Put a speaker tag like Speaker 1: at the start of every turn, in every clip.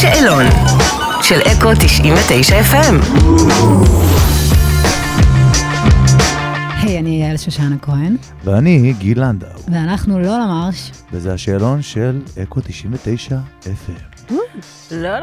Speaker 1: שאלון של אקו 99 FM.
Speaker 2: היי, אני יעל שושנה כהן,
Speaker 3: ואני גיל לנדאו,
Speaker 2: ואנחנו לא למרש.
Speaker 3: וזה השאלון של אקו 99 FM.
Speaker 1: לא למה.
Speaker 3: לא,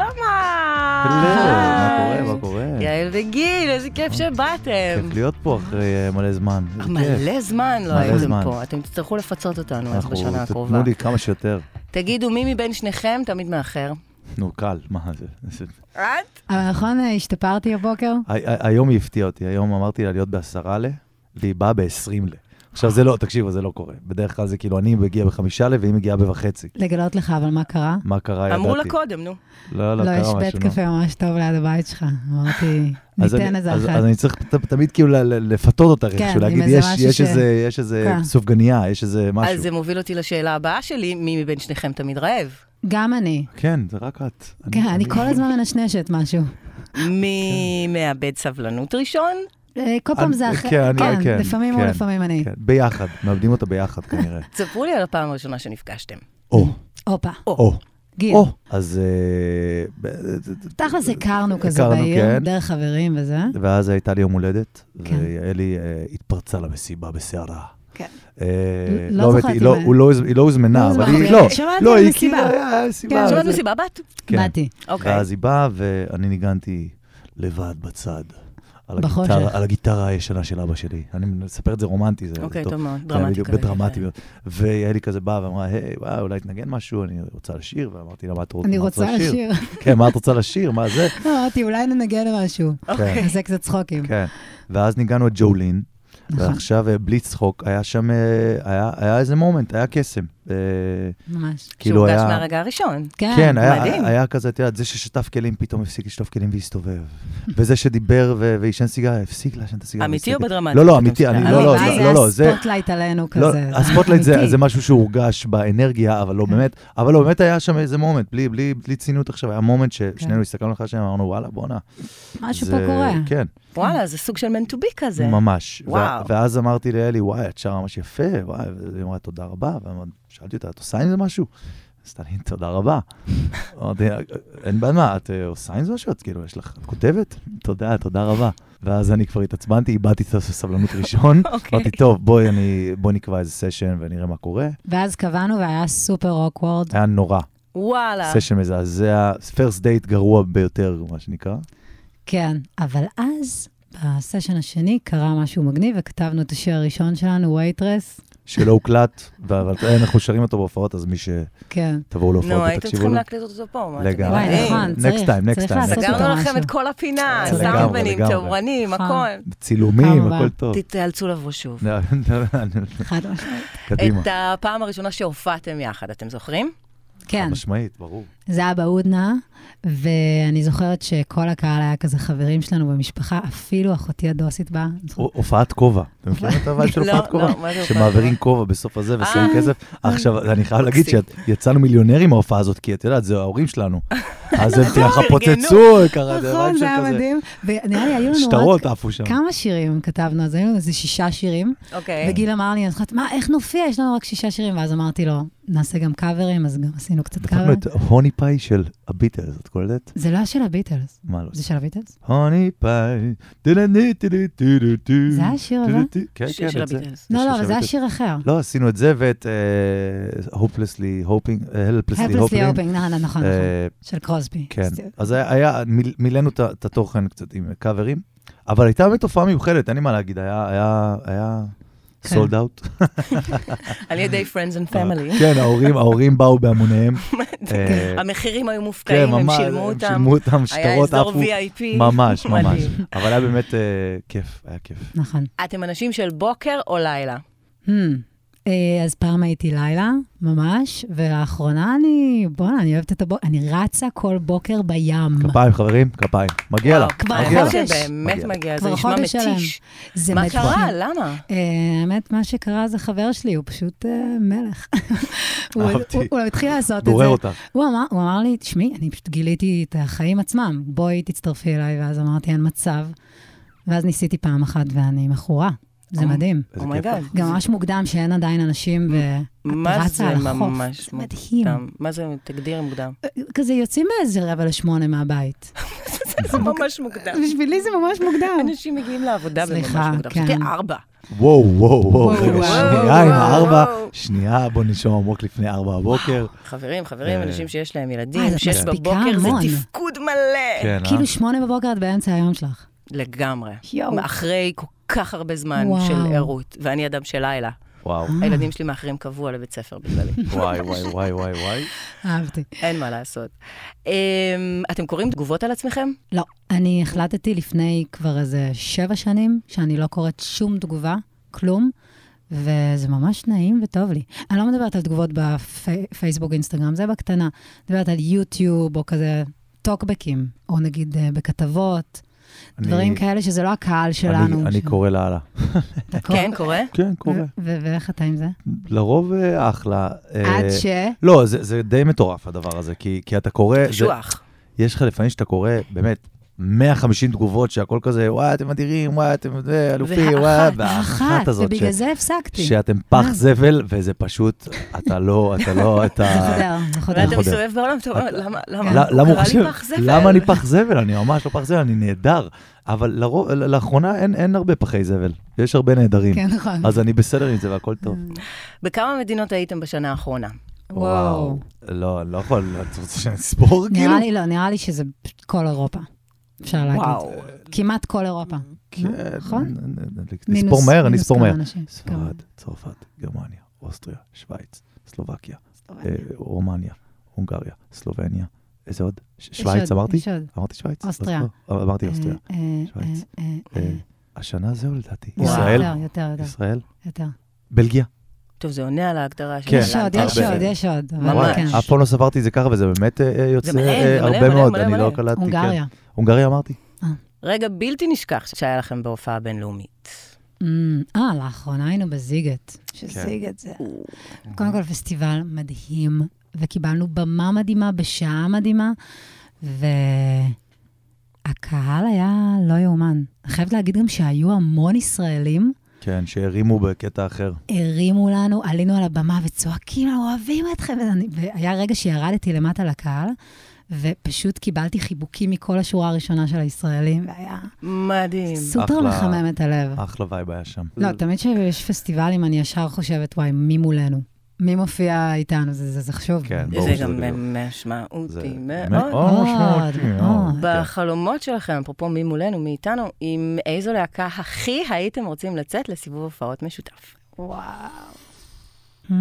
Speaker 3: מה קורה? מה קורה?
Speaker 1: יעל וגיל, איזה כיף שבאתם.
Speaker 3: כיף להיות פה אחרי אה, מלא זמן. איזה כיף.
Speaker 1: מלא זמן לא
Speaker 3: מלא
Speaker 1: הייתם
Speaker 3: זמן.
Speaker 1: פה, אתם תצטרכו לפצות אותנו אז
Speaker 3: אנחנו-
Speaker 1: בשנה הקרובה.
Speaker 3: תנו לי כמה שיותר.
Speaker 1: תגידו, מי מבין שניכם תמיד מאחר?
Speaker 3: נו, קל, מה זה? זה-
Speaker 1: את?
Speaker 2: אבל נכון, אה, השתפרתי הבוקר?
Speaker 3: ה- ה- היום היא הפתיעה אותי, היום אמרתי לה להיות בעשרה ל, והיא באה בעשרים ל. עכשיו זה לא, תקשיבו, זה לא קורה. בדרך כלל זה כאילו, אני מגיע בחמישה ל, והיא מגיעה בוחצי.
Speaker 2: לגלות לך, אבל מה קרה?
Speaker 3: מה קרה, ידעתי.
Speaker 1: אמרו לה קודם, נו.
Speaker 3: לא, לא,
Speaker 2: לא,
Speaker 3: קרה
Speaker 2: יש
Speaker 3: משהו.
Speaker 2: בית
Speaker 3: נו.
Speaker 2: קפה ממש טוב ליד הבית שלך. אמרתי,
Speaker 3: אז
Speaker 2: ניתן
Speaker 3: אני-
Speaker 2: איזה
Speaker 3: אז-
Speaker 2: אחת.
Speaker 3: אז אני צריך ת- תמיד כאילו ל- ל- לפתות אותך
Speaker 2: כן,
Speaker 3: איכשהו,
Speaker 2: עם
Speaker 3: להגיד,
Speaker 2: איזה
Speaker 3: יש-
Speaker 2: משהו
Speaker 3: יש
Speaker 2: ש-
Speaker 3: איזה- יש איזה
Speaker 2: כן.
Speaker 3: סופגניה, יש איזה
Speaker 1: אז
Speaker 3: משהו.
Speaker 1: זה מוביל אותי לשאלה הבאה שלי, מי מבין שניכם תמיד רעב?
Speaker 2: גם אני.
Speaker 3: כן, זה רק את.
Speaker 2: כן, אני כל הזמן מנשנשת משהו.
Speaker 1: מי
Speaker 3: כן.
Speaker 1: מאבד סבלנות ראשון?
Speaker 2: אה, כל פעם
Speaker 3: אני-
Speaker 2: זה אחר,
Speaker 3: כן, אני-
Speaker 2: כן,
Speaker 3: כן,
Speaker 2: לפעמים הוא
Speaker 3: כן,
Speaker 2: לפעמים אני.
Speaker 3: כן, ביחד, מאבדים אותה ביחד כנראה.
Speaker 1: תספרו לי על הפעם הראשונה שנפגשתם.
Speaker 3: או,
Speaker 2: הופה,
Speaker 3: או,
Speaker 2: גיל.
Speaker 3: או. אז... אה, ב-
Speaker 2: תכלס הכרנו כזה
Speaker 3: הכרנו,
Speaker 2: בעיר,
Speaker 3: כן.
Speaker 2: דרך חברים וזה.
Speaker 3: ואז הייתה לי יום הולדת,
Speaker 2: כן.
Speaker 3: ויעלי אה, התפרצה למסיבה בסערה.
Speaker 2: כן.
Speaker 3: אה,
Speaker 2: לא
Speaker 3: באמת,
Speaker 2: זוכרת
Speaker 3: היא
Speaker 2: אם
Speaker 3: לא-
Speaker 2: היה.
Speaker 3: הוא לא הוז- היא לא הוזמנה, אבל
Speaker 2: הוזמנה.
Speaker 3: היא לא,
Speaker 2: שמעתי
Speaker 3: לא,
Speaker 2: על כן,
Speaker 3: היא
Speaker 2: מסיבה.
Speaker 3: כאילו, היה היה סיבה.
Speaker 1: שמעת
Speaker 3: וזה.
Speaker 1: מסיבה בת?
Speaker 3: כן.
Speaker 2: באתי.
Speaker 1: אוקיי.
Speaker 3: ואז היא באה, ואני ניגנתי לבד בצד. על
Speaker 2: בחושך.
Speaker 3: הגיטרה, על הגיטרה הישנה של אבא שלי. אני מספר את זה רומנטי, זה זה
Speaker 1: אוקיי,
Speaker 3: טוב.
Speaker 1: טוב מאוד,
Speaker 3: כן,
Speaker 1: דרמטי
Speaker 3: בדיוק,
Speaker 1: כזה.
Speaker 3: בדרמטי מאוד. ויעלי כזה באה ואמרה, היי, וואו, אולי תנגן משהו, אני רוצה לשיר, ואמרתי לה, מה את רוצה
Speaker 2: אני
Speaker 3: מה את
Speaker 2: רוצה לשיר.
Speaker 3: כן, מה את רוצה לשיר, מה זה?
Speaker 2: אמרתי, אולי ננגן משהו.
Speaker 3: אוקיי.
Speaker 2: נעשה קצת צחוקים.
Speaker 3: כן. ואז ניגענו את ג'ולין,
Speaker 2: נכון.
Speaker 3: ועכשיו, אה, בלי צחוק, היה שם, אה, היה- היה איזה מומנט, היה קסם. אה,
Speaker 2: ממש.
Speaker 3: כאילו
Speaker 1: שהורגש
Speaker 3: היה...
Speaker 1: מהרגע הראשון.
Speaker 2: אה,
Speaker 3: כן, היה,
Speaker 1: מדהים.
Speaker 3: היה כזה, את יודעת, זה ששטף כלים פתאום הפסיק לשטוף כלים והסתובב. וזה שדיבר ו- ועישן סיגריה, הפסיק לעשן את הסיגריה.
Speaker 1: אמיתי או
Speaker 3: והפסיק-
Speaker 1: בדרמטי?
Speaker 3: לא, לא,
Speaker 1: פתאום
Speaker 3: אמיתי, אני,
Speaker 1: סיגריה?
Speaker 3: לא, לא,
Speaker 2: אמיתי,
Speaker 3: לא,
Speaker 2: זה
Speaker 3: לא, זה...
Speaker 2: הספוטלייט אה, עלינו
Speaker 3: לא,
Speaker 2: כזה.
Speaker 3: הספוטלייט זה,
Speaker 2: אמיתי. אה.
Speaker 3: זה משהו שהורגש באנרגיה, אבל לא באמת, אבל לא, באמת היה שם איזה מומנט, בלי, בלי, בלי ציניות עכשיו, היה מומנט ששנינו הסתכלנו אחד לשני, אמרנו, וואלה, בואנה.
Speaker 2: כן. משהו
Speaker 3: זה-
Speaker 2: פה קורה.
Speaker 3: כן,
Speaker 1: וואלה, זה סוג של man to be כזה.
Speaker 3: ממש. ו-
Speaker 1: וואו.
Speaker 3: ואז אמרתי לאלי, וואי, את שרה ממש יפה, וואי, והיא אמרה, תודה רבה, ושאלתי אותה, את עושה עם זה משהו? אז תעני, תודה רבה. אמרתי, אין בעיה, מה, את אה, עושה עם זה משהו? את כאילו, יש לך, את כותבת? תודה, תודה רבה. ואז אני כבר התעצבנתי, איבדתי את הסבלנות ראשון.
Speaker 1: אוקיי.
Speaker 3: אמרתי, טוב, בואי אני- בואי נקבע איזה סשן ונראה מה קורה.
Speaker 2: ואז קבענו והיה סופר אוקוורד.
Speaker 3: היה נורא,
Speaker 1: וואלה.
Speaker 3: סשן מזעזע, פרסט דייט גרוע ביותר, מה שנקרא.
Speaker 2: כן, אבל אז, בסשן השני, קרה משהו מגניב וכתבנו את השיר הראשון שלנו, וייטרס.
Speaker 3: שלא הוקלט, ו- אבל אנחנו שרים אותו בהופעות, אז מי
Speaker 2: כן.
Speaker 3: שתבואו להופעות
Speaker 1: נו, הייתם
Speaker 3: ותקשיבו
Speaker 1: צריכים
Speaker 3: לו.
Speaker 1: להקליט אותו פה. מה,
Speaker 3: לגמרי.
Speaker 1: אתם
Speaker 2: וואי,
Speaker 1: יודעים?
Speaker 2: נכון,
Speaker 3: אה, Next
Speaker 2: צריך.
Speaker 3: time, next
Speaker 2: צריך
Speaker 3: time,
Speaker 2: לעשות
Speaker 3: next
Speaker 2: אותו
Speaker 1: סגרנו לכם
Speaker 2: משהו.
Speaker 1: את כל הפינה,
Speaker 3: לגמרי,
Speaker 1: סאונדמנים,
Speaker 3: לגמרי.
Speaker 1: תאורנים,
Speaker 2: נכון.
Speaker 1: הכל.
Speaker 3: צילומים,
Speaker 2: פעם הבאה.
Speaker 3: הכל טוב.
Speaker 1: תיאלצו לבוא שוב.
Speaker 3: לא, לא, לא,
Speaker 2: חד משמעית.
Speaker 3: קדימה.
Speaker 1: את הפעם הראשונה שהופעתם יחד, אתם זוכרים?
Speaker 2: כן,
Speaker 3: משמעית, ברור.
Speaker 2: זה היה בהודנה, ואני זוכרת שכל הקהל היה כזה חברים שלנו במשפחה, אפילו אחותי הדוסית באה. אני זוכרת-
Speaker 3: הו- הופעת כובע. אתם מכירים את הבעיה של
Speaker 1: לא,
Speaker 3: הופעת
Speaker 1: לא,
Speaker 3: כובע?
Speaker 1: מה זה הופעת
Speaker 3: שמעבירים כובע בסוף הזה ושמים
Speaker 1: אה.
Speaker 3: כסף. עכשיו, אני חייב להגיד
Speaker 1: מקסים.
Speaker 3: שיצאנו מיליונרים מההופעה הזאת, כי את יודעת, זה ההורים שלנו. אז הם ככה
Speaker 1: ארגנו.
Speaker 3: פוצצו, קרה, זה רק
Speaker 2: נכון, זה היה
Speaker 3: שכזה.
Speaker 2: מדהים. ונראה לי, היו לנו רק
Speaker 3: שטרות אה, עפו שם.
Speaker 2: כמה שירים כתבנו, אז היו לנו איזה שישה שירים.
Speaker 3: כן.
Speaker 1: אוקיי.
Speaker 2: וגיל אמר לי, אני זוכרת, מה, איך נופיע? יש לנו רק שישה שירים. ואז אמרתי לו, נעשה גם קאברים, אז גם עשינו קצת
Speaker 3: דפקנו
Speaker 2: קאברים.
Speaker 3: את הוני פאי של הביטלס, את קולטת?
Speaker 2: זה לא היה של הביטלס.
Speaker 3: מה לא?
Speaker 2: זה של הביטלס?
Speaker 3: הוני פאי.
Speaker 2: זה היה לא? השיר הזה?
Speaker 3: כן,
Speaker 1: שיר
Speaker 3: כן,
Speaker 1: של
Speaker 3: את Mm, זה.
Speaker 1: הביטלס.
Speaker 2: לא,
Speaker 3: של
Speaker 2: לא, אבל זה היה
Speaker 3: הביטלס.
Speaker 2: שיר אחר.
Speaker 3: לא, עשינו את זה ואת אה, Hopelessly Hoping, אה, Helplessly
Speaker 2: הפלסלי
Speaker 3: Hoping.
Speaker 2: אופינג, נכון, נכון.
Speaker 3: אה,
Speaker 2: של קרוסבי.
Speaker 3: כן,
Speaker 2: סטיב.
Speaker 3: אז היה- היה, מיל- מילאנו את ה- את התוכן קצת עם קאברים, אבל הייתה באמת תופעה מיוחדת, אין לי מה להגיד, היה- היה- היה
Speaker 2: כן.
Speaker 3: סולד אאוט.
Speaker 1: על ידי Friends and Family.
Speaker 3: כן, ההורים- ההורים באו בהמוניהם. אה,
Speaker 1: המחירים היו מופקעים,
Speaker 3: כן,
Speaker 1: הם
Speaker 3: ממש,
Speaker 1: שילמו
Speaker 3: הם
Speaker 1: אותם.
Speaker 3: שילמו אותם,
Speaker 1: היה
Speaker 3: שטרות
Speaker 1: אזור
Speaker 3: עפו.
Speaker 1: VIP.
Speaker 3: ממש, ממש.
Speaker 1: מדהים.
Speaker 3: אבל היה באמת אה, כיף, היה כיף.
Speaker 2: נכון.
Speaker 1: אתם אנשים של בוקר או לילה?
Speaker 2: Hmm. אה, אז פעם הייתי לילה, ממש, ולאחרונה אני, בואנה, אני אוהבת את הבוקר, אני רצה כל בוקר בים.
Speaker 3: כפיים, חברים, כפיים. מגיע לה,
Speaker 1: וואו, כבר
Speaker 3: מגיע לה.
Speaker 1: חודש.
Speaker 2: לה.
Speaker 1: באמת
Speaker 3: מגיע לה.
Speaker 1: מגיע, זה
Speaker 2: כבר
Speaker 1: נשמע
Speaker 2: חודש שלם.
Speaker 1: מתיש.
Speaker 2: זה
Speaker 1: מה
Speaker 2: מדהים.
Speaker 1: קרה? למה?
Speaker 2: אה, האמת, מה שקרה זה חבר שלי, הוא פשוט אה, מלך. הוא-
Speaker 3: אהבתי.
Speaker 2: הוא- הוא התחיל לעשות את
Speaker 3: גורר
Speaker 2: זה.
Speaker 3: אותך.
Speaker 2: הוא אמר, הוא אמר לי, תשמעי, אני פשוט גיליתי את החיים עצמם, בואי תצטרפי אליי, ואז אמרתי, אין מצב. ואז ניסיתי פעם אחת ואני מכורה.
Speaker 1: אה,
Speaker 2: זה מדהים.
Speaker 3: איזה כיף.
Speaker 1: אומייגאד.
Speaker 2: גם ממש מוקדם שאין עדיין אנשים, ואת
Speaker 1: מה
Speaker 2: רצה
Speaker 1: זה
Speaker 2: על החוף.
Speaker 1: ממש
Speaker 2: זה מדהים.
Speaker 1: מוקדם? מה זה, תגדיר מוקדם.
Speaker 2: כזה יוצאים באיזה רבע לשמונה מהבית.
Speaker 1: זה ממש מוקדם.
Speaker 2: בשבילי זה ממש מוקדם.
Speaker 1: אנשים מגיעים לעבודה בממש
Speaker 2: סליחה,
Speaker 1: מוקדם.
Speaker 2: כן.
Speaker 1: שתי ארבע.
Speaker 3: וואו, וואו, וואו,
Speaker 2: וואו,
Speaker 3: רגע,
Speaker 2: וואו,
Speaker 3: שנייה עם
Speaker 1: וואו,
Speaker 3: הארבע,
Speaker 1: וואו.
Speaker 3: שנייה, בוא נשום עמוק לפני ארבע בבוקר. חברים,
Speaker 1: חברים, חברים,
Speaker 3: אה.
Speaker 1: אנשים שיש להם
Speaker 2: אה,
Speaker 1: ילדים,
Speaker 2: זה
Speaker 1: שש
Speaker 2: מספיקה
Speaker 1: בבוקר, זה
Speaker 2: המון.
Speaker 1: תפקוד מלא.
Speaker 3: כן, אה?
Speaker 2: כאילו שמונה בבוקר את באמצע היום שלך.
Speaker 1: לגמרי.
Speaker 2: יואו.
Speaker 1: אחרי כל כך הרבה זמן
Speaker 2: וואו. אה.
Speaker 1: של ערות, ואני אדם של לילה.
Speaker 3: וואו,
Speaker 1: הילדים שלי מאחרים קבוע לבית ספר בגללי.
Speaker 3: וואי, וואי, וואי, וואי, וואי.
Speaker 2: אהבתי.
Speaker 1: אין מה לעשות. אמ, אתם קוראים תגובות על עצמכם?
Speaker 2: לא, אני החלטתי לפני כבר איזה שבע שנים שאני לא קוראת שום תגובה, כלום, וזה ממש נעים וטוב לי. אני לא מדברת על תגובות בפייסבוק, אינסטגרם, זה בקטנה. מדברת על יוטיוב או כזה טוקבקים, או נגיד אה, בכתבות,
Speaker 3: אני-
Speaker 2: דברים כאלה שזה לא הקהל
Speaker 3: אני-
Speaker 2: שלנו.
Speaker 3: אני
Speaker 2: ש- אה?
Speaker 3: קורא לאללה.
Speaker 2: אתה קורא?
Speaker 1: כן, קורה?
Speaker 3: כן, קורא.
Speaker 2: ו- ו- ואיך אתה עם זה?
Speaker 3: לרוב אה, אחלה. אה,
Speaker 2: עד ש...
Speaker 3: לא, זה זה די מטורף הדבר הזה, כי כי אתה קורא... זה-
Speaker 1: שוח.
Speaker 3: יש לך לפעמים שאתה קורא, באמת, 150 תגובות שהכל כזה, וואי, אתם אדירים, וואי, אתם זה, אלופים,
Speaker 1: והאחת,
Speaker 3: וואי,
Speaker 2: אחת,
Speaker 3: והאחת הזאת,
Speaker 2: ובגלל
Speaker 3: ש-
Speaker 2: זה אה. הפסקתי.
Speaker 3: שאתם פח זבל, וזה פשוט, אתה לא, אתה לא, אתה...
Speaker 2: זה חודר, זה חודר.
Speaker 1: ואתה
Speaker 3: חודר.
Speaker 1: מסתובב בעולם, אתה אומר, למה, למה,
Speaker 3: ל- אה, לא, למה
Speaker 1: הוא
Speaker 3: הוא
Speaker 1: קרא
Speaker 3: חושב,
Speaker 1: לי פח זבל.
Speaker 3: למה אני פח זבל? אני ממש לא פח זבל, אני נהדר. אבל לרוב- לאחרונה אין- אין הרבה פחי זבל, יש הרבה נהדרים.
Speaker 2: כן, נכון.
Speaker 3: אז אני בסדר עם זה והכל טוב.
Speaker 1: בכמה מדינות הייתם בשנה האחרונה?
Speaker 2: אה, וואו.
Speaker 3: לא, אני לא יכול, את רוצה שאני אספור כאילו?
Speaker 2: נראה לי לא, נראה לי שזה כל אירופה, אפשר להגיד. כמעט כל אירופה.
Speaker 3: כן,
Speaker 2: נכון?
Speaker 3: נ- נ- נ-
Speaker 2: מינוס-
Speaker 3: נספור מהר, אני
Speaker 2: מינוס
Speaker 3: אספור
Speaker 2: כמה
Speaker 3: מהר. אה,
Speaker 2: אנשים, כמה.
Speaker 3: ספרד, צרפת, גרמניה, אוסטריה, שווייץ, סלובקיה, אה, רומניה, הונגריה, סלובניה, איזה עוד? ש-
Speaker 2: יש
Speaker 3: שווייץ
Speaker 2: עוד,
Speaker 3: אמרתי?
Speaker 2: יש עוד.
Speaker 3: אמרתי שווייץ?
Speaker 2: אוסטריה.
Speaker 3: לא, אמרתי אוסטריה.
Speaker 2: אה, אה,
Speaker 3: שווייץ.
Speaker 2: אה, אה, אה.
Speaker 3: אה, השנה זהו לדעתי.
Speaker 1: וואו.
Speaker 3: ישראל,
Speaker 2: יותר, יותר, יותר,
Speaker 3: ישראל,
Speaker 2: יותר.
Speaker 3: בלגיה.
Speaker 1: טוב, זה עונה על ההגדרה של...
Speaker 3: כן,
Speaker 2: יש עוד, יש
Speaker 3: הרבה.
Speaker 2: עוד, יש עוד. אבל
Speaker 1: ממש.
Speaker 2: כן.
Speaker 3: אף פעם לא ספרתי את זה ככה, וזה באמת אה, אה, יוצא
Speaker 1: מלא,
Speaker 3: אה,
Speaker 1: זה מלא,
Speaker 3: הרבה
Speaker 1: מלא,
Speaker 3: מאוד,
Speaker 1: מלא,
Speaker 3: אני לא
Speaker 1: מלא.
Speaker 3: קלטתי. כן.
Speaker 2: הונגריה.
Speaker 3: הונגריה אמרתי.
Speaker 1: רגע בלתי נשכח שהיה לכם בהופעה בינלאומית.
Speaker 2: אמ, אה, לאחרונה היינו בזיגט.
Speaker 3: שזיגט
Speaker 2: זה... קודם כל, פסטיבל מדהים, וקיבלנו במה מדהימה בשעה מדהימה, והקהל היה לא יאומן. אני חייבת להגיד גם שהיו המון ישראלים
Speaker 3: כן, שהרימו בקטע אחר.
Speaker 2: הרימו לנו, עלינו על הבמה וצועקים, "אנחנו אוהבים אתכם. ואני- והיה רגע שירדתי למטה לקהל, ופשוט קיבלתי חיבוקים מכל השורה הראשונה של הישראלים, והיה
Speaker 1: מדהים.
Speaker 2: סופר
Speaker 3: אחלה.
Speaker 2: מחמם את הלב.
Speaker 3: אחלה וייב היה שם.
Speaker 2: לא, תמיד כשיש פסטיבלים, אני ישר חושבת, וואי, מי מולנו? מי מופיע איתנו? זה- זה זה חשוב.
Speaker 3: כן, ברור
Speaker 1: זה
Speaker 3: שזה גדול.
Speaker 1: גם משמעותי מאוד.
Speaker 3: מאוד משמעותי.
Speaker 2: מאוד,
Speaker 3: מאוד.
Speaker 2: מאוד.
Speaker 3: כן.
Speaker 1: בחלומות שלכם, אפרופו מי מולנו, מי איתנו, עם איזו להקה הכי הייתם רוצים לצאת לסיבוב הופעות משותף?
Speaker 2: Hmm.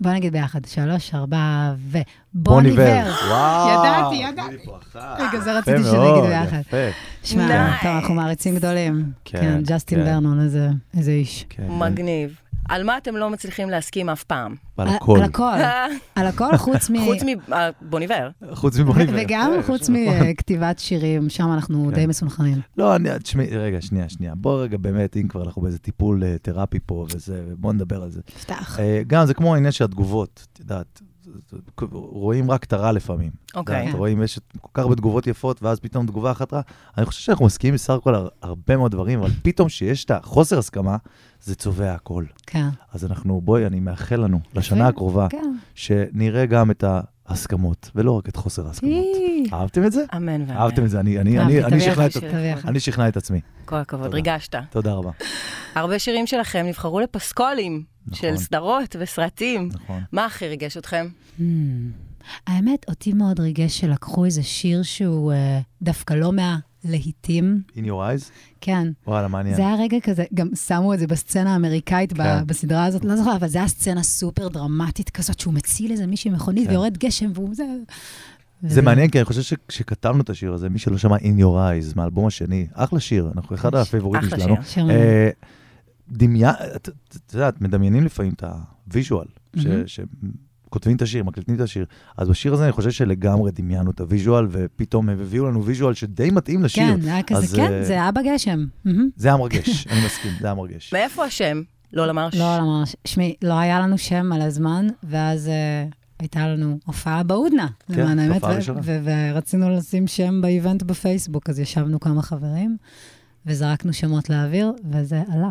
Speaker 2: בוא נגיד ביחד, שלוש, ארבע, ו...
Speaker 3: בוניבר. כן. וואו.
Speaker 2: ידעתי, ידעתי. רגע, זה
Speaker 3: יפה
Speaker 2: רציתי
Speaker 3: מאוד,
Speaker 2: שנגיד ביחד.
Speaker 3: יפה.
Speaker 2: שמע,
Speaker 1: Nice.
Speaker 2: טוב, אנחנו מעריצים גדולים. כן,
Speaker 3: כן, כן.
Speaker 2: ג'סטין ברנון, איזה- איזה איש.
Speaker 3: כן,
Speaker 1: מגניב. על מה אתם לא מצליחים להסכים אף פעם?
Speaker 3: כן. על הכל.
Speaker 2: על הכל.
Speaker 3: אה,
Speaker 2: על הכל, חוץ מ...
Speaker 1: חוץ אה, מבוניבר.
Speaker 3: חוץ מבוניבר.
Speaker 2: וגם חוץ מכתיבת שירים, שם אנחנו
Speaker 3: כן.
Speaker 2: די מסונכנים.
Speaker 3: לא, אני, תשמעי, רגע, שנייה, שנייה. בוא רגע, באמת, אם כבר אנחנו באיזה טיפול אה, תרפי פה וזה, בוא נדבר על זה.
Speaker 2: נפתח.
Speaker 3: אה, גם זה כמו העניין של התגובות, את יודעת. רואים רק את הרע לפעמים.
Speaker 1: אוקיי.
Speaker 3: יודעת, רואים, יש כל כך הרבה תגובות יפות, ואז פתאום תגובה אחת רעה. אני חושב שאנחנו מסכימים בסך הכל הר- הרבה מאוד דברים, אבל פתאום שיש את החוסר הסכמה, זה צובע הכל.
Speaker 2: כן.
Speaker 3: אז אנחנו, בואי, אני מאחל לנו, לשנה
Speaker 2: יפה.
Speaker 3: הקרובה,
Speaker 2: כן.
Speaker 3: שנראה גם את ההסכמות, ולא רק את חוסר ההסכמות.
Speaker 2: אי.
Speaker 3: אהבתם את זה?
Speaker 1: אמן ואמן.
Speaker 3: אהבתם את זה, אני- אני-
Speaker 2: אהבתי,
Speaker 3: אני אני
Speaker 2: תביא
Speaker 3: שכנע את-
Speaker 2: אחת, תביא אחת.
Speaker 3: אני שכנע את עצמי.
Speaker 1: כל הכבוד,
Speaker 3: תודה.
Speaker 1: ריגשת.
Speaker 3: תודה רבה.
Speaker 1: הרבה שירים שלכם נבחרו לפסקולים של סדרות וסרטים.
Speaker 3: נכון.
Speaker 1: מה הכי ריגש אתכם?
Speaker 2: Hmm. האמת, אותי מאוד ריגש שלקחו איזה שיר שהוא אה, דווקא לא מהלהיטים.
Speaker 3: In your eyes?
Speaker 2: כן.
Speaker 3: וואלה, מעניין.
Speaker 2: זה היה רגע כזה, גם שמו את זה בסצנה האמריקאית ב-
Speaker 3: כן.
Speaker 2: בסדרה הזאת, לא זוכרת, אבל זו הייתה סצנה סופר דרמטית כזאת, שהוא מציל איזה מישהי מכונית
Speaker 3: כן.
Speaker 2: ויורד גשם, והוא זה...
Speaker 3: זה מעניין, כי אני חושב שכשכתבנו את השיר הזה, מי שלא שמע In Your Eyes מהאלבום השני, אחלה שיר, אנחנו אחד הפייבוריטים
Speaker 1: אחלה
Speaker 3: שלנו.
Speaker 1: שיר.
Speaker 2: שיר מעניין.
Speaker 3: אה,
Speaker 2: Mm-hmm.
Speaker 3: דמיה, את את- את יודעת, מדמיינים לפעמים את הוויז'ואל, ש-
Speaker 2: מהמם.
Speaker 3: שכותבים את השיר, מקליטים את השיר. אז בשיר הזה אני חושב שלגמרי דמיינו את הוויז'ואל, ופתאום הם הביאו לנו ויז'ואל שדי מתאים לשיר.
Speaker 2: כן, זה היה
Speaker 3: אז,
Speaker 2: כזה,
Speaker 3: אה,
Speaker 2: כן, זה היה בגשם. מהמם.
Speaker 3: זה היה מרגש, אני מסכים, זה היה מרגש.
Speaker 1: מאיפה השם? לא למרש.
Speaker 2: לא, לא ממש. שמעי, לא היה לנו שם על הזמן, ואז אה, הייתה לנו הופעה בהודנה,
Speaker 3: כן,
Speaker 2: למען האמת,
Speaker 3: הופעה
Speaker 2: ו-
Speaker 3: ראשונה.
Speaker 2: ו- ורצינו לשים שם באיבנט בפייסבוק, אז ישבנו כמה חברים, וזרקנו שמות לאוויר, וזה עלה.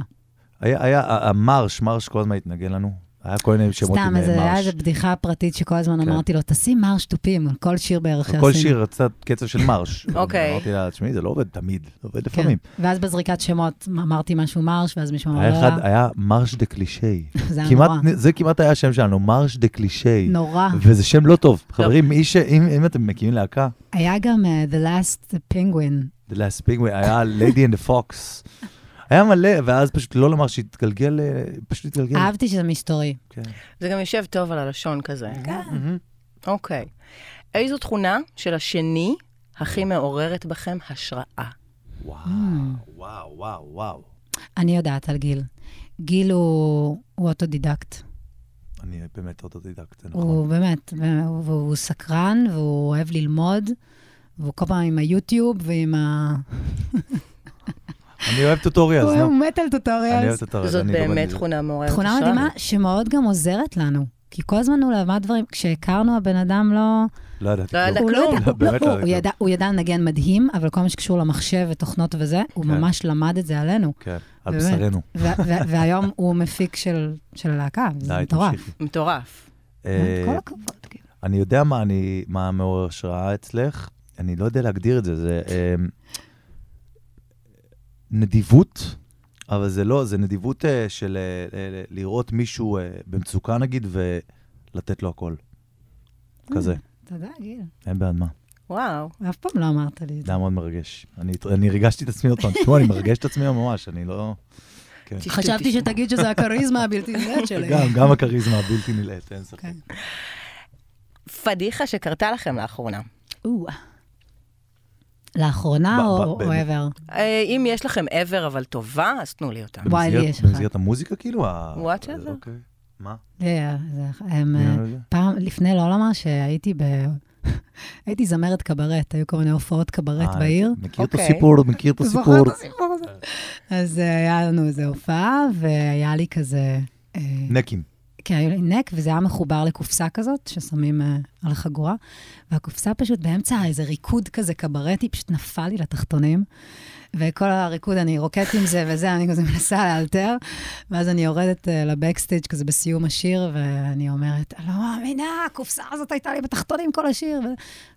Speaker 3: היה, היה, המרש, מרש כל הזמן התנגן לנו. היה כל מיני שמות עם
Speaker 2: סתם,
Speaker 3: אה,
Speaker 2: אז היה
Speaker 3: מרש.
Speaker 2: איזו בדיחה פרטית שכל הזמן
Speaker 3: כן.
Speaker 2: אמרתי לו, תשים מרש תופים על כל שיר בערך שעשינו.
Speaker 3: כל שיר רצה קצב של מרש.
Speaker 1: אוקיי.
Speaker 3: אמרתי לה, תשמעי, זה לא עובד תמיד, זה עובד
Speaker 2: כן.
Speaker 3: לפעמים.
Speaker 2: ואז בזריקת שמות אמרתי משהו מרש, ואז מישהו אמר,
Speaker 3: היה
Speaker 2: לא,
Speaker 3: אחד, היה מרש דה קלישי.
Speaker 2: זה היה
Speaker 3: כמעט,
Speaker 2: נורא.
Speaker 3: זה כמעט היה השם שלנו, מרש דה קלישי.
Speaker 2: נורא.
Speaker 3: וזה שם לא טוב. חברים, מי ש... אם אם אתם מקימים להקה,
Speaker 2: היה גם אה, The Last Penguin.
Speaker 3: The Last Penguin, היה Lady and the Fox. היה מלא, ואז פשוט לא לומר שהתגלגל, אה, פשוט התגלגל.
Speaker 2: אהבתי שזה מסתורי.
Speaker 3: כן.
Speaker 1: זה גם יושב טוב על הלשון כזה.
Speaker 2: כן.
Speaker 3: מהמם.
Speaker 1: אוקיי. איזו תכונה של השני הכי מעוררת בכם השראה?
Speaker 3: וואו, וואו, וואו, וואו.
Speaker 2: אני יודעת על גיל. גיל הוא הוא אוטודידקט.
Speaker 3: אני באמת אוטודידקט, זה נכון.
Speaker 2: הוא באמת, והוא והוא סקרן, והוא אוהב ללמוד, והוא כל פעם עם היוטיוב ועם ה...
Speaker 3: אני אוהב טוטוריאלס,
Speaker 2: הוא
Speaker 3: נו.
Speaker 2: הוא מת על
Speaker 3: אני אוהב
Speaker 2: טוטוריאלס.
Speaker 3: טוטוריאלס.
Speaker 1: זאת
Speaker 3: אני לא גם-
Speaker 1: באמת
Speaker 3: אני-
Speaker 1: תכונה מעוררת השראה.
Speaker 2: תכונה מדהימה שמאוד גם עוזרת לנו. כי כל הזמן הוא למד דברים, כשהכרנו הבן אדם לא...
Speaker 3: לא ידעתי.
Speaker 1: לא
Speaker 3: כלום.
Speaker 1: ידע
Speaker 2: הוא לא
Speaker 1: כלום.
Speaker 2: ידע,
Speaker 3: באמת
Speaker 2: לא,
Speaker 3: לא
Speaker 2: הוא-
Speaker 3: ידע
Speaker 2: הוא ידע- הוא ידע לנגן מדהים, אבל כל מה שקשור למחשב ותוכנות וזה, הוא
Speaker 3: כן.
Speaker 2: ממש למד את זה עלינו.
Speaker 3: כן, על
Speaker 2: באמת.
Speaker 3: בשרנו.
Speaker 2: ו- ו- והיום הוא מפיק של של הלהקה, זה
Speaker 3: די,
Speaker 2: מטורף.
Speaker 3: תמשיכי.
Speaker 1: מטורף.
Speaker 3: אה,
Speaker 2: כל הכבוד. כאילו.
Speaker 3: אני יודע מה אני- מה מעורר השראה אצלך, אני לא יודע להגדיר את זה, זה אה, נדיבות, אבל זה לא, זה נדיבות אה, של אה, אה, לראות מישהו אה, במצוקה נגיד, ולתת לו הכל. כזה,
Speaker 2: תודה, גיל.
Speaker 3: אין בעד מה.
Speaker 1: וואו.
Speaker 2: אף פעם לא אמרת לי את
Speaker 3: זה
Speaker 2: זה.
Speaker 3: היה מאוד מרגש. אני אני ריגשתי את עצמי עוד פעם, תשמעו, אני מרגש את עצמי ממש, אני לא...
Speaker 1: תשתו,
Speaker 2: חשבתי
Speaker 1: תשתו.
Speaker 2: שתגיד שזה הכריזמה הבלתי נראית שלי.
Speaker 3: גם, גם הכריזמה הבלתי נלאית, אין ספק.
Speaker 2: כן.
Speaker 1: פדיחה שקרתה לכם לאחרונה.
Speaker 2: או. לאחרונה
Speaker 3: ב-
Speaker 2: או
Speaker 3: ב-
Speaker 2: או
Speaker 3: באמת.
Speaker 2: ever?
Speaker 1: אה, אם יש לכם ever אבל טובה, אז תנו לי אותה.
Speaker 2: וואי, לי
Speaker 3: במסגרת-
Speaker 2: יש אחת.
Speaker 3: במסגרת המוזיקה כאילו? ה-
Speaker 1: Whatever.
Speaker 3: אוקיי. מה?
Speaker 2: אה, זה- הם,
Speaker 3: מי
Speaker 2: אה,
Speaker 3: אומר את זה?
Speaker 2: פעם, לפני לא למה שהייתי ב... הייתי זמרת קברט, היו כל מיני הופעות קברט
Speaker 3: אה,
Speaker 2: בעיר.
Speaker 3: מכיר את
Speaker 1: אוקיי.
Speaker 3: הסיפור, מכיר את
Speaker 2: אתה זוכר
Speaker 3: הסיפור.
Speaker 2: את הסיפור הזה? אז אה, היה לנו איזו הופעה, והיה לי כזה... אה,
Speaker 3: נקים.
Speaker 2: כן, היה לי נק, וזה היה מחובר לקופסה כזאת, ששמים אה, על החגורה, והקופסה פשוט באמצע איזה ריקוד כזה קברטי, פשוט נפל לי לתחתונים, וכל הריקוד, אני רוקדת עם זה וזה, אני כזה מנסה לאלתר, ואז אני יורדת אה, לבקסטייג' כזה בסיום השיר, ואני אומרת, "אני לא מאמינה, הקופסה הזאת הייתה לי בתחתונים כל השיר, ו-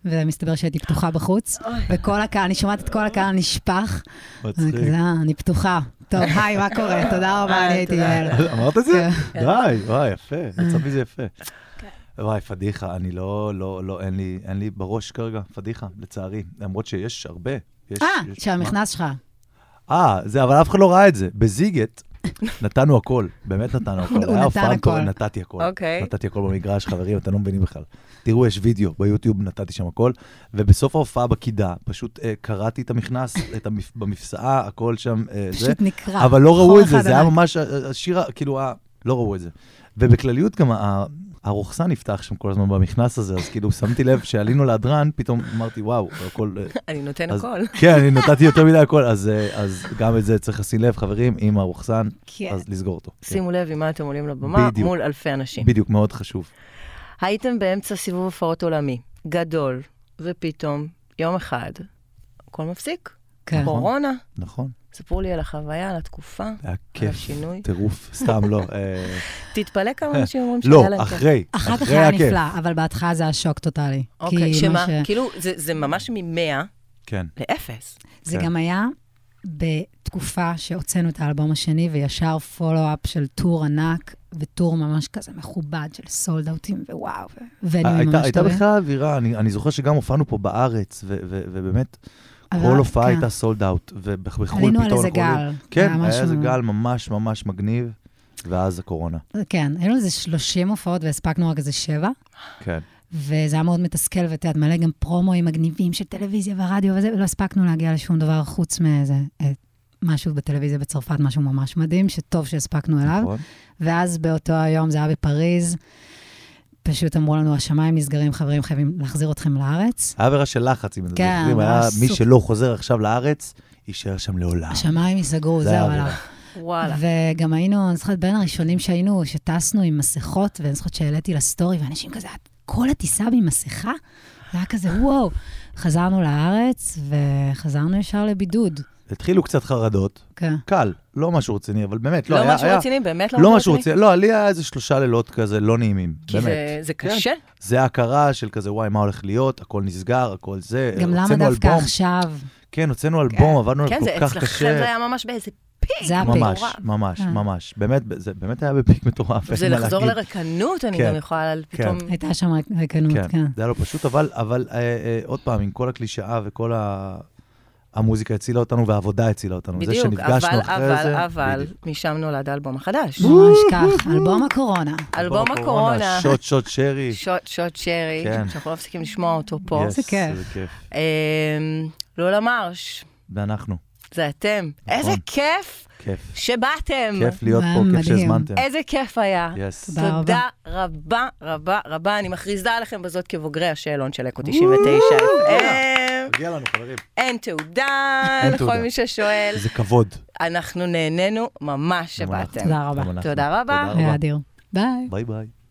Speaker 2: ומסתבר שהייתי פתוחה בחוץ, וכל הקהל, אני שומעת את כל הקהל נשפך, אני
Speaker 3: מצחיק.
Speaker 2: כזה, "אה, אני פתוחה. טוב, היי, מה קורה? תודה רבה,
Speaker 1: אה,
Speaker 2: אני הייתי
Speaker 1: תודה.
Speaker 2: יעל.
Speaker 3: אמרת את זה?
Speaker 2: כן. אוקיי.
Speaker 3: די, וואי, יפה, יצא מזה יפה. וואי, פדיחה, אני לא, לא, לא, אין לי, אין לי בראש כרגע, פדיחה, לצערי. למרות שיש הרבה. יש-
Speaker 2: אה,
Speaker 3: יש-
Speaker 2: שהמכנס שלך.
Speaker 3: מה? אה, זה, אבל אף אחד לא ראה את זה. בזיגט נתנו הכל, באמת נתנו הכל.
Speaker 2: הוא
Speaker 3: היה
Speaker 2: נתן
Speaker 3: הופעה
Speaker 2: הכל.
Speaker 3: טובה, נתתי הכל.
Speaker 1: אוקיי.
Speaker 3: נתתי הכל במגרש, חברים, אתם לא מבינים בכלל. תראו, יש וידאו ביוטיוב, נתתי שם הכל, ובסוף ההופעה בקידה, פשוט אה, קראתי את המכנס, את המפ... במפסעה, הכל שם, אה, זה.
Speaker 2: פשוט נקרע.
Speaker 3: אבל לא ראו
Speaker 2: חור
Speaker 3: את זה,
Speaker 2: אחד
Speaker 3: זה היה
Speaker 2: ענק.
Speaker 3: ממש אה, השיר, ה- כאילו, ה- לא ראו את זה. ובכלליות גם ה- הרוחסן נפתח שם כל הזמן במכנס הזה, אז כאילו שמתי לב שעלינו להדרן, פתאום אמרתי, וואו, הכל... אה,
Speaker 1: אני נותן
Speaker 3: אז-
Speaker 1: הכל.
Speaker 3: כן, אני נתתי יותר מדי הכל, אז, אה, אז גם את זה צריך לשים לב, חברים, עם הרוחסן,
Speaker 2: כן.
Speaker 3: אז לסגור אותו. כן.
Speaker 1: שימו לב עם מה אתם עולים לבמה
Speaker 3: בדיוק.
Speaker 1: מול אלפי אנשים.
Speaker 3: בדיוק, מאוד חשוב.
Speaker 1: הייתם באמצע סיבוב הופעות עולמי, גדול, ופתאום, יום אחד, הכל מפסיק.
Speaker 2: כן.
Speaker 1: קורונה.
Speaker 3: נכון,
Speaker 1: ספרו לי על החוויה, על התקופה,
Speaker 3: זה היה
Speaker 1: על
Speaker 3: כיף,
Speaker 1: השינוי.
Speaker 3: טירוף, סתם לא. אה,
Speaker 1: תתפלא כמה אנשים אומרים
Speaker 3: לא,
Speaker 1: שהיה להם כיף.
Speaker 3: אחרי,
Speaker 2: אחר כך
Speaker 3: אחרי
Speaker 2: היה
Speaker 3: הכיף.
Speaker 2: נפלא, אבל בהתחלה זה היה שוק טוטאלי. כי
Speaker 1: אוקיי,
Speaker 2: מה
Speaker 1: שמה?
Speaker 2: ש-
Speaker 1: כאילו, זה- זה ממש מ-100
Speaker 3: כן,
Speaker 1: לאפס.
Speaker 2: זה
Speaker 3: כן.
Speaker 2: גם היה בתקופה שהוצאנו את האלבום השני, וישר פולו-אפ של טור ענק, וטור ממש כזה מכובד של סולד אאוטים, ווואו, ונויים
Speaker 3: אה, הייתה
Speaker 2: ממש
Speaker 3: הייתה
Speaker 2: טובים.
Speaker 3: בכלל אווירה, אני אני זוכר שגם הופענו פה בארץ, ו- ו- ובאמת,
Speaker 2: אבל-
Speaker 3: כל הופעה
Speaker 2: כן.
Speaker 3: הייתה סולד אאוט, ובחו"ל פתאום...
Speaker 2: עלינו על איזה
Speaker 3: הכל-
Speaker 2: גל.
Speaker 3: כן, היה
Speaker 2: משהו-
Speaker 3: איזה גל ממש ממש מגניב, ואז הקורונה.
Speaker 2: כן, היו איזה 30 הופעות והספקנו רק איזה שבע.
Speaker 3: כן.
Speaker 2: וזה היה מאוד מתסכל, ואת יודעת, מלא גם פרומואים מגניבים של טלוויזיה והרדיו וזה, ולא הספקנו להגיע לשום דבר חוץ מאיזה אה, משהו בטלוויזיה בצרפת, משהו ממש מדהים, שטוב שהספקנו אליו.
Speaker 3: נכון?
Speaker 2: ואז באותו היום, זה היה בפריז, פשוט אמרו לנו, השמיים נסגרים, חברים, חייבים להחזיר אתכם לארץ.
Speaker 3: היה עבירה של לחץ, אם אתם
Speaker 2: כן,
Speaker 3: זוכרים,
Speaker 2: ממש
Speaker 3: היה מי
Speaker 2: סופר.
Speaker 3: שלא חוזר עכשיו לארץ, יישאר שם לעולם.
Speaker 2: השמיים ייסגרו,
Speaker 3: אה, זה
Speaker 2: זהו,
Speaker 3: היה
Speaker 2: עליו.
Speaker 1: וואלה.
Speaker 2: וגם היינו, אני זוכרת, בין הראשונים שהיינו, שטסנו עם מסכות, ואני זוכרת שהעליתי לסטורי, ואנשים כזה, "את כל הטיסה במסכה? זה היה כזה, וואו. חזרנו לארץ, וחזרנו ישר לבידוד.
Speaker 3: התחילו קצת חרדות,
Speaker 2: כן.
Speaker 3: קל, לא משהו רציני, אבל באמת, לא,
Speaker 1: לא
Speaker 3: היה...
Speaker 1: משהו
Speaker 3: היה-
Speaker 1: רציני, באמת לא
Speaker 3: לא משהו רציני, לא, לי היה איזה שלושה לילות כזה לא נעימים,
Speaker 1: כי
Speaker 3: באמת.
Speaker 1: זה- זה
Speaker 3: כן.
Speaker 1: קשה.
Speaker 3: זה הכרה של כזה, וואי, מה הולך להיות, הכל נסגר, הכל זה.
Speaker 2: גם למה
Speaker 3: הוצאנו
Speaker 2: דווקא
Speaker 3: אלבום,
Speaker 2: עכשיו?
Speaker 3: כן, הוצאנו אלבום, עבדנו
Speaker 1: כן,
Speaker 3: עליו
Speaker 1: זה
Speaker 3: כל כך
Speaker 1: אצלכם זה
Speaker 3: קשה.
Speaker 1: היה ממש באיזה...
Speaker 2: זה הפיק.
Speaker 3: ממש,
Speaker 1: מטורף.
Speaker 3: ממש,
Speaker 2: אה.
Speaker 3: ממש. באמת, זה באמת היה בפיק מטורף, אין
Speaker 1: זה
Speaker 3: מה
Speaker 1: לחזור
Speaker 3: להגיד.
Speaker 1: לרקנות, אני
Speaker 3: כן,
Speaker 1: גם יכולה פתאום...
Speaker 2: הייתה שם רק ריקנות,
Speaker 3: כן,
Speaker 2: כן.
Speaker 3: זה היה לא פשוט, אבל, אבל אה, אה, עוד פעם, עם כל הקלישאה וכל ה... המוזיקה הצילה אותנו והעבודה הצילה אותנו. זה
Speaker 1: בדיוק,
Speaker 3: שנפגשנו
Speaker 1: אבל,
Speaker 3: אחרי
Speaker 1: אבל,
Speaker 3: זה,
Speaker 1: אבל,
Speaker 3: בדיוק.
Speaker 1: משם נולד האלבום החדש.
Speaker 2: כן. ממש כך, אלבום הקורונה.
Speaker 1: אלבום הקורונה,
Speaker 3: שוט, שוט, שרי.
Speaker 1: שוט שוט שרי,
Speaker 3: כן.
Speaker 1: שאנחנו לא מפסיקים לשמוע אותו פה.
Speaker 3: יס,
Speaker 2: זה כיף.
Speaker 3: זה כיף.
Speaker 1: אמ, לולה מרש,
Speaker 3: ואנחנו,
Speaker 1: זה אתם. איזה כיף
Speaker 3: כיף.
Speaker 1: שבאתם.
Speaker 3: נכון. כיף להיות
Speaker 2: מה,
Speaker 3: פה,
Speaker 2: מדהים. אה,
Speaker 3: כיף שהזמנתם.
Speaker 1: איזה כיף היה.
Speaker 3: יס.
Speaker 2: תודה.
Speaker 1: תודה רבה, רבה, רבה. אני מכריזה עליכם בזאת כבוגרי השאלון של אקו 99. אמ,
Speaker 3: מגיע לנו, חברים.
Speaker 1: אין תעודה
Speaker 3: אין
Speaker 1: לכל
Speaker 3: תעודה.
Speaker 1: מי ששואל.
Speaker 3: זה כבוד.
Speaker 1: אנחנו נהנינו ממש
Speaker 3: גם אנחנו.
Speaker 1: שבאתם.
Speaker 2: תודה אה, רבה.
Speaker 3: גם אנחנו.
Speaker 1: תודה רבה.
Speaker 3: תודה
Speaker 2: היה אדיר. ביי.
Speaker 3: ביי ביי.